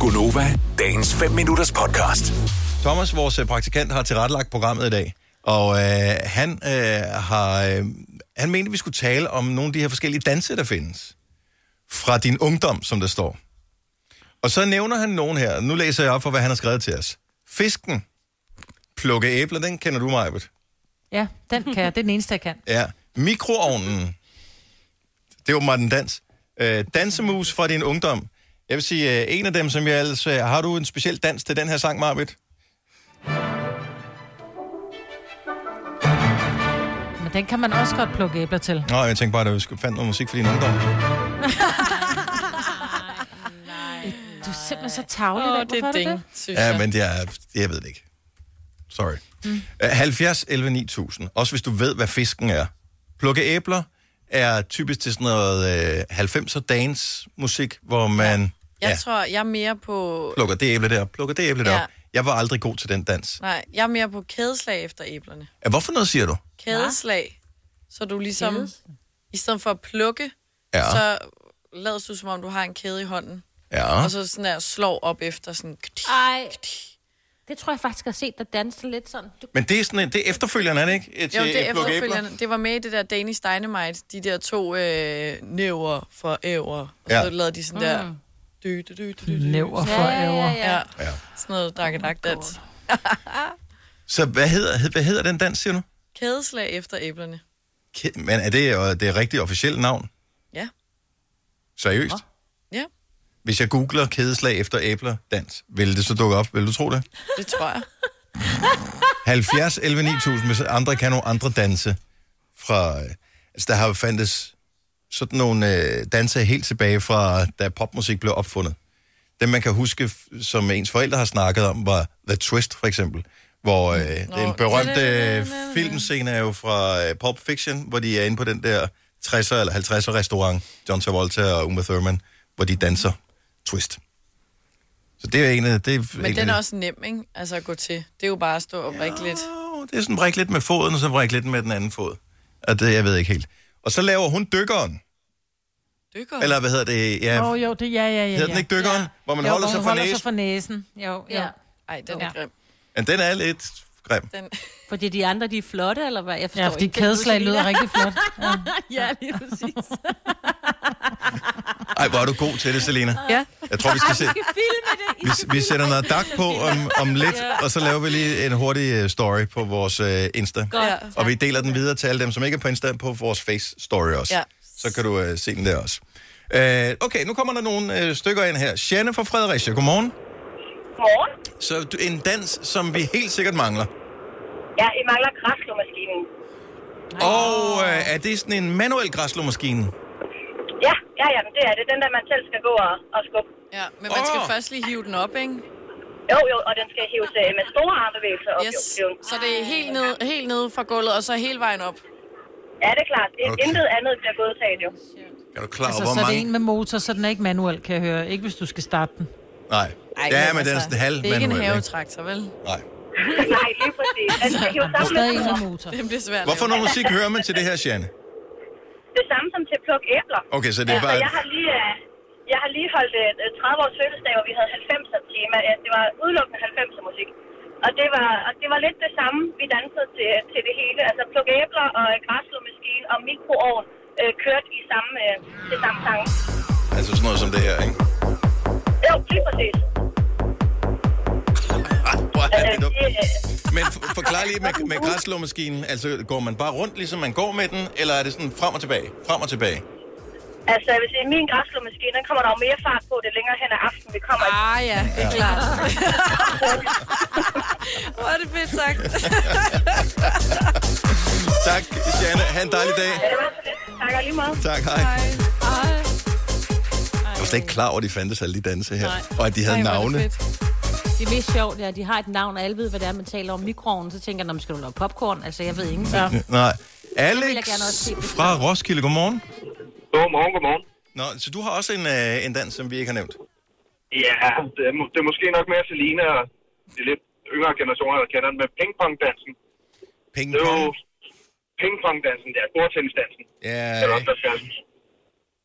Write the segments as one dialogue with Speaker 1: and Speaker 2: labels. Speaker 1: Gunova, dagens 5 minutters podcast.
Speaker 2: Thomas, vores øh, praktikant, har tilrettelagt programmet i dag, og øh, han øh, har øh, han mente, vi skulle tale om nogle af de her forskellige danse, der findes. Fra din ungdom, som der står. Og så nævner han nogen her. Nu læser jeg op for, hvad han har skrevet til os. Fisken. Plukke æbler, den kender du, Majbet.
Speaker 3: Ja, den kan jeg. Det er den eneste, jeg kan.
Speaker 2: Ja. Mikroovnen. Det er åbenbart en dans. Øh, dansemus fra din ungdom. Jeg vil sige, øh, en af dem, som jeg ellers... Øh, har du en speciel dans til den her sang, Marvitt?
Speaker 3: Men den kan man også godt plukke æbler til.
Speaker 2: Nå, jeg tænkte bare, at vi skulle fandt noget musik for din ungdom.
Speaker 3: Du er simpelthen så tavlig.
Speaker 4: Åh,
Speaker 3: Oh,
Speaker 4: det er ding, synes jeg.
Speaker 2: Ja, men det er, jeg ved det ikke. Sorry. Mm. 70 11 9000. Også hvis du ved, hvad fisken er. Plukke æbler er typisk til sådan noget øh, 90'er dance musik, hvor man ja.
Speaker 4: Jeg
Speaker 2: Ja,
Speaker 4: tror, jeg er mere på...
Speaker 2: plukker det æble der, plukker det æble ja.
Speaker 4: Ja.
Speaker 2: der. Jeg var aldrig god til den dans.
Speaker 4: Nej, jeg er mere på kædeslag efter æblerne.
Speaker 2: Ja, Hvorfor noget siger du?
Speaker 4: Kædeslag. Så du ligesom... I stedet for at plukke,
Speaker 2: Ja,
Speaker 4: så lader du som om, du har en kæde i hånden.
Speaker 2: ja.
Speaker 4: Og så sådan der slår op efter sådan...
Speaker 5: Ej. Det tror jeg faktisk har set dig danse lidt sådan. Du,
Speaker 2: Men det er sådan en, det er efterfølgende, er det ikke? Et, øh,
Speaker 4: Jo, det
Speaker 2: et
Speaker 4: er
Speaker 2: plukke æbler?
Speaker 4: efterfølgende. Det var med i det der Danish Dynamite. De der to øh, næver for æver. Og så
Speaker 2: Ja.
Speaker 4: lavede de sådan der... Dy, dy, dy, dy, dy.
Speaker 3: Næver for ja, ja, ja.
Speaker 4: Ja.
Speaker 2: Ja.
Speaker 4: Sådan noget dak dak dans.
Speaker 2: Så hvad hedder, hed- hvad hedder den dans, siger du?
Speaker 4: Kædeslag efter æblerne.
Speaker 2: Ke- Men er det øh, det rigtige officielle navn?
Speaker 4: Ja.
Speaker 2: Seriøst?
Speaker 4: Ja,
Speaker 2: Hvis jeg googler kædeslag efter æbler dans, vil det så dukke op? Vil du tro det?
Speaker 4: det tror jeg.
Speaker 2: 70, 11, 9000, hvis andre kan nogle andre danse. Fra, øh, altså, der har jo fandtes sådan nogle øh, danse helt tilbage fra, da popmusik blev opfundet. Dem, man kan huske, f- som ens forældre har snakket om, var The Twist, for eksempel. Hvor øh, den berømte øh, filmscene er jo fra øh, Pulp Fiction, hvor de er inde på den der 60'er eller 50'er restaurant, John Travolta og Uma Thurman, hvor de danser Twist. Så det er en af... Det er
Speaker 4: Men
Speaker 2: en
Speaker 4: den
Speaker 2: af,
Speaker 4: er også nem, ikke? Altså at gå til. Det er jo bare at stå og vrikke lidt.
Speaker 2: Åh, det er sådan bræk lidt med foden, og så bræk lidt med den anden fod. Og det, jeg ved ikke helt. Og så laver hun dykkeren.
Speaker 4: Dykker.
Speaker 2: Eller hvad hedder det? Ja,
Speaker 3: Åh,
Speaker 2: oh,
Speaker 3: oh, jo, det ja, ja, ja.
Speaker 2: hedder den
Speaker 3: ja.
Speaker 2: ikke dykkeren? Ja. Hvor man
Speaker 3: jo,
Speaker 2: jo, holder
Speaker 3: hvor
Speaker 2: sig
Speaker 3: hun
Speaker 2: for
Speaker 3: holder sig
Speaker 2: næsen.
Speaker 3: for næsen. Jo, jo.
Speaker 5: ja.
Speaker 3: Ja.
Speaker 4: Ej, den er
Speaker 3: Ja.
Speaker 4: grim.
Speaker 2: Men den er lidt grim.
Speaker 4: Den...
Speaker 5: Fordi de andre, de er flotte, eller hvad? Jeg forstår
Speaker 3: Ja, fordi
Speaker 5: ikke.
Speaker 3: kædeslag lyder rigtig flot. Ja.
Speaker 5: Ja, lige præcis.
Speaker 2: Ej, hvor er du god til det, Selina.
Speaker 4: Ja.
Speaker 2: Jeg tror, vi skal se.
Speaker 5: Filme det. I
Speaker 2: Vi, vi sætter noget dak på om, om lidt, og så laver vi lige en hurtig øh, story på vores øh, Insta.
Speaker 5: godt.
Speaker 4: Ja.
Speaker 2: Og vi deler den videre til alle dem, som ikke er på Insta, på vores Face-story også.
Speaker 4: Ja.
Speaker 2: Så kan du øh, se den der også. Øh, okay, nu kommer der nogle øh, stykker ind her. Shanne fra Fredericia, godmorgen.
Speaker 6: Morgen.
Speaker 2: Så du- en dans, som vi helt sikkert mangler.
Speaker 6: Ja, I mangler græsslåmaskinen.
Speaker 2: Og øh, er det sådan en manuel græslåmaskine?
Speaker 6: Ja, ja, ja, men det er det. Den der, man selv skal gå og, og skubbe.
Speaker 4: ja, men man skal
Speaker 2: Åh!
Speaker 4: først lige hive den op, ikke?
Speaker 6: Jo, jo, og den skal hives øh, med store armbevægelser op.
Speaker 4: Yes.
Speaker 6: Jo, jo.
Speaker 4: Så det er helt ned, helt ned fra gulvet, og så hele vejen op.
Speaker 6: Ja, det er klart. Okay.
Speaker 2: Okay.
Speaker 6: Intet andet bliver godtaget, jo.
Speaker 2: Er du klar over,
Speaker 3: Altså,
Speaker 2: hvor
Speaker 3: så er det
Speaker 2: mange...
Speaker 3: en med motor, så den er ikke manuel, kan jeg høre. Ikke hvis du skal starte den.
Speaker 2: Nej. Ej, ja, men den er sådan halv
Speaker 4: altså, Det er ikke en
Speaker 2: manuel,
Speaker 4: havetraktor, vel?
Speaker 2: Nej.
Speaker 6: Nej, lige præcis. Altså, Den skal hives
Speaker 3: Der er
Speaker 6: sammen med
Speaker 3: stadig en
Speaker 6: store.
Speaker 3: med motor.
Speaker 4: Det bliver svært. at
Speaker 2: Hvorfor
Speaker 4: lave.
Speaker 2: noget musik hører man til det her, Shanne?
Speaker 6: Det samme som til at plukke æbler.
Speaker 2: Okay, så det er
Speaker 6: Altså,
Speaker 2: bare...
Speaker 6: jeg har lige... øh, Jeg har lige holdt øh, 30 års fødselsdag, hvor vi havde 90'er tema. Øh, Det var udelukkende 90'er musik. Og det var, og det var lidt det samme, vi dansede til, til det hele. Altså plukke æbler og øh, græsslåmaskine og mikroovn øh, kørte i samme, øh, til samme sang.
Speaker 2: Altså sådan noget som det her, ikke?
Speaker 6: Jo, lige præcis.
Speaker 2: Ej, hvor er det
Speaker 6: Altså,
Speaker 2: dumt.
Speaker 6: det, øh,
Speaker 2: Men for, forklar lige med, med græslåmaskinen. Altså, går man bare rundt, ligesom man går med den? Eller er det sådan frem og tilbage? Frem og tilbage?
Speaker 6: altså, jeg vil sige, min græsslåmaskine, den kommer der jo mere fart på, det længere hen ad aftenen, vi kommer.
Speaker 4: Ah ja, det er klart. Hvor er det fedt sagt.
Speaker 2: Tak, Shanne. Ha' en dejlig dag.
Speaker 6: Det var så lidt. Tak og lige meget.
Speaker 2: Tak, hej. Jeg var slet ikke klar over, at de fandtes alle de danse her. Og at de havde
Speaker 4: Ej, hvor er det
Speaker 2: navne.
Speaker 4: fedt.
Speaker 5: Det er mest sjovt, at de har et navn, og alle ved, hvad det er, man taler om. Mikroovnen, så tænker jeg, "Nå, men skal du lave popcorn? Altså, jeg ved ingenting. Ja.
Speaker 2: Nej.
Speaker 5: vil jeg
Speaker 2: Alex
Speaker 5: gerne også se på.
Speaker 2: fra Roskilde, godmorgen.
Speaker 7: Godmorgen, godmorgen.
Speaker 2: Nå, så du har også en, øh, en dans, som vi ikke har nævnt.
Speaker 7: Ja, det er, må- det er måske nok mere Selina og de lidt yngre generationer, der kender den med pingpongdansen.
Speaker 2: Ping
Speaker 7: Det er jo
Speaker 2: pong.
Speaker 7: pingpongdansen, det er bordtennisdansen.
Speaker 2: Ja,
Speaker 7: Eller også, der skal.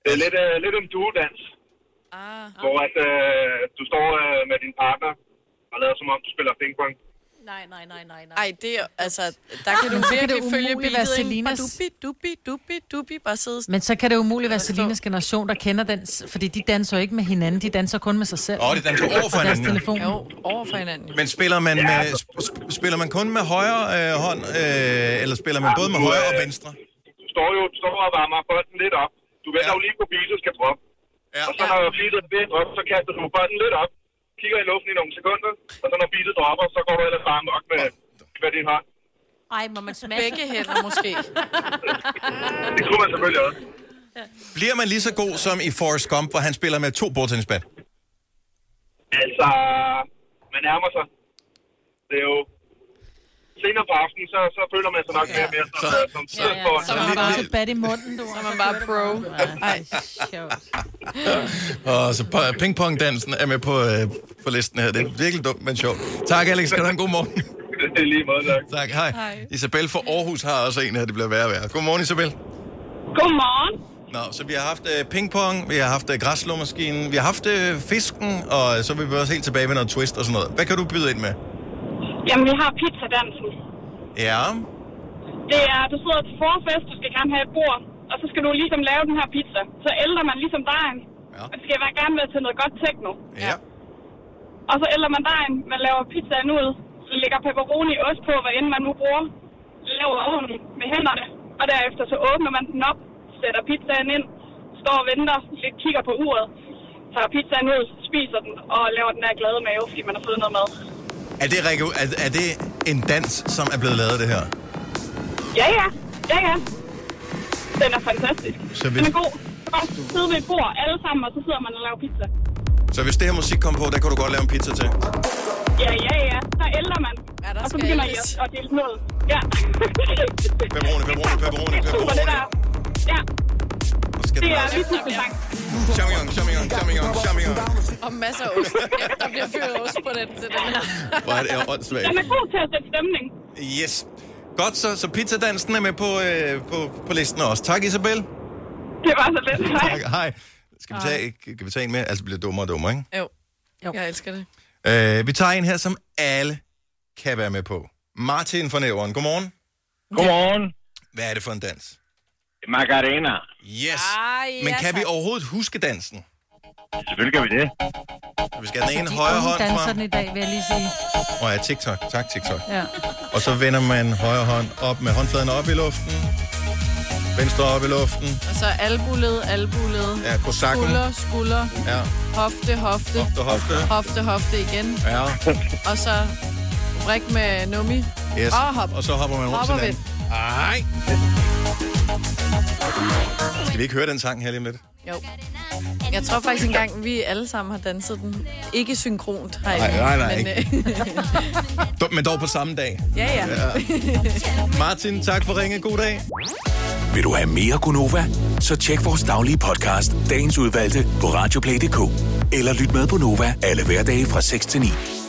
Speaker 7: Det er lidt, øh, lidt en duodans,
Speaker 4: Ah,
Speaker 7: hvor at, øh, du står øh,
Speaker 5: nej, nej, nej, nej.
Speaker 4: Ej, det er, altså, der kan du
Speaker 3: Ah, så kan det
Speaker 4: virkelig følge
Speaker 3: umuligt være
Speaker 4: beatet, ikke? Bare
Speaker 3: Selinas.
Speaker 4: dubi, dubi, dubi, dubi, bare sidde
Speaker 3: Men så kan det umuligt være Selinas generation, der kender den, s- fordi de danser jo ikke med hinanden, de danser kun med sig selv.
Speaker 2: Åh, de danser over for
Speaker 3: Og deres
Speaker 2: hinanden.
Speaker 3: telefon.
Speaker 4: jo, over for hinanden. jo.
Speaker 2: Men spiller man, med, sp- sp- spiller man kun med højre øh, hånd, øh, eller spiller man både med højre og venstre?
Speaker 7: Du står jo står og varmer bolden lidt op. Du venter
Speaker 2: Ja.
Speaker 7: jo lige på bilen, du skal droppe.
Speaker 2: Ja.
Speaker 7: Og så når beatet lidt op, så kaster du bolden lidt op, kigger i luften i nogle sekunder, og så når beatet dropper, så går du ellers bare amok med, med din hånd.
Speaker 5: Ej, må man smashe?
Speaker 4: Begge hænder måske.
Speaker 7: Det kunne man selvfølgelig også.
Speaker 2: Bliver man lige så god som i Forrest Gump, hvor han spiller med to bordtennisbat?
Speaker 7: Altså, man nærmer sig. Det er jo... Senere på aftenen, så, så føler man sig nok mere og mere som,
Speaker 2: Så-
Speaker 7: som tiden går.
Speaker 4: Så man
Speaker 2: lidt-
Speaker 4: bare,
Speaker 3: Så bat i munden, du.
Speaker 4: så man bare pro.
Speaker 3: Ej, sjovt.
Speaker 2: Og så p- pingpongdansen er med på, øh, på listen her. Det er virkelig dumt, men sjovt. Tak, Alex. Skal du have en god morgen?
Speaker 7: Det er lige måde, tak.
Speaker 2: Tak. Hej. Hej. Isabel fra Aarhus har også en her, det bliver værre og værre. Godmorgen, Isabel.
Speaker 8: Godmorgen.
Speaker 2: Nå, så vi har haft øh, pingpong, vi har haft øh, græslåmaskinen, vi har haft øh, fisken, og øh, så vil vi også helt tilbage med noget twist og sådan noget. Hvad kan du byde ind med?
Speaker 8: Jamen, vi har pizzadansen.
Speaker 2: Ja,
Speaker 8: Det er, du sidder til forfest, du skal gerne have et bord, og så skal du ligesom lave den her pizza. Så ældrer man ligesom dejen.
Speaker 2: Ja.
Speaker 8: Og det skal være gerne være til noget godt techno.
Speaker 2: ja.
Speaker 8: Og så ældrer man dejen, man laver pizzaen ud, lægger pepperoni ost på, hvad end man nu bruger, laver ovnen med hænderne, og derefter så åbner man den op, sætter pizzaen ind, står og venter, lidt kigger på uret, tager pizzaen ud, spiser den og laver den der glade mave, fordi man har fået noget mad.
Speaker 2: Er det, Rikke, er, er det en dans, som er blevet lavet, det her?
Speaker 8: Ja, ja. Ja, ja. Den er fantastisk.
Speaker 2: Så hvis-
Speaker 8: Den er god. Så bare sidde ved et bord alle sammen, og så sidder man og laver pizza.
Speaker 2: Så hvis det her musik kom på, der kunne du godt lave en pizza til.
Speaker 8: Ja, ja, ja. Der ældrer man.
Speaker 4: Ja, der
Speaker 8: og så
Speaker 4: skal
Speaker 8: begynder I
Speaker 4: ældes.
Speaker 8: at- at dele noget. Ja.
Speaker 2: Pepperoni, pepperoni, pepperoni,
Speaker 8: Super, det der.
Speaker 2: pepperoni.
Speaker 8: Ja,
Speaker 2: Og skal
Speaker 8: det
Speaker 2: den
Speaker 8: er
Speaker 2: også-
Speaker 8: mit sang.
Speaker 2: Champignon, champignon, champignon, champignon.
Speaker 4: Og masser af ost. Ja, der bliver fyret ost på den til den her.
Speaker 2: Hvor er det her åndssvagt.
Speaker 8: Den er god til at sætte stemning.
Speaker 2: Yes. Godt, så, så pizzadansen er med på, øh, på, på listen også. Tak, Isabel.
Speaker 8: Det var så lidt. Hej.
Speaker 2: Tak, hej. Skal vi tage, kan vi tage en mere? Altså, det bliver dummere og dummere, ikke?
Speaker 4: Jo.
Speaker 3: Jo.
Speaker 4: Jeg elsker det.
Speaker 2: Øh, vi tager en her, som alle kan være med på. Martin fra Nævren, godmorgen.
Speaker 9: Godmorgen.
Speaker 2: Hvad er det for en dans?
Speaker 9: Macarena.
Speaker 2: Yes.
Speaker 4: Ej,
Speaker 2: Men
Speaker 4: ja,
Speaker 2: kan vi
Speaker 4: tak.
Speaker 2: overhovedet huske dansen?
Speaker 9: Selvfølgelig gør vi det.
Speaker 2: Vi skal have den ene
Speaker 3: De
Speaker 2: højre
Speaker 3: unge
Speaker 2: hånd
Speaker 3: danser
Speaker 2: frem.
Speaker 3: den i dag, vil jeg lige sige.
Speaker 2: Og ja, TikTok. Tak, TikTok.
Speaker 3: Ja.
Speaker 2: Og så vender man højre hånd op med håndfladen op i luften. Venstre op i luften.
Speaker 4: Og så albuled, albuled.
Speaker 2: Ja, kosakken.
Speaker 4: Skulder, skulder.
Speaker 2: Ja,
Speaker 4: Hofte, hofte.
Speaker 2: hofte, hofte.
Speaker 4: Hofte, hofte igen.
Speaker 2: Ja,
Speaker 4: Og så brik med nummi.
Speaker 2: yes.
Speaker 4: Og hop.
Speaker 2: Og så hopper man rundt til
Speaker 4: Hopper
Speaker 2: hinanden. Ej. Skal vi ikke høre den sang her lige om lidt?
Speaker 4: Jo. Jeg tror faktisk engang, vi alle sammen har danset den. Ikke synkront herinde.
Speaker 2: Nej, nej, nej,
Speaker 4: Men,
Speaker 2: ikke.
Speaker 4: øh,
Speaker 2: Dum, Men dog på samme dag.
Speaker 4: ja, ja.
Speaker 2: Martin, tak for ringe. God dag.
Speaker 1: Vil du have mere Gunova? Så tjek vores daglige podcast, dagens udvalgte, på radioplay.dk. Eller lyt med på Nova alle hverdage fra 6 til 9.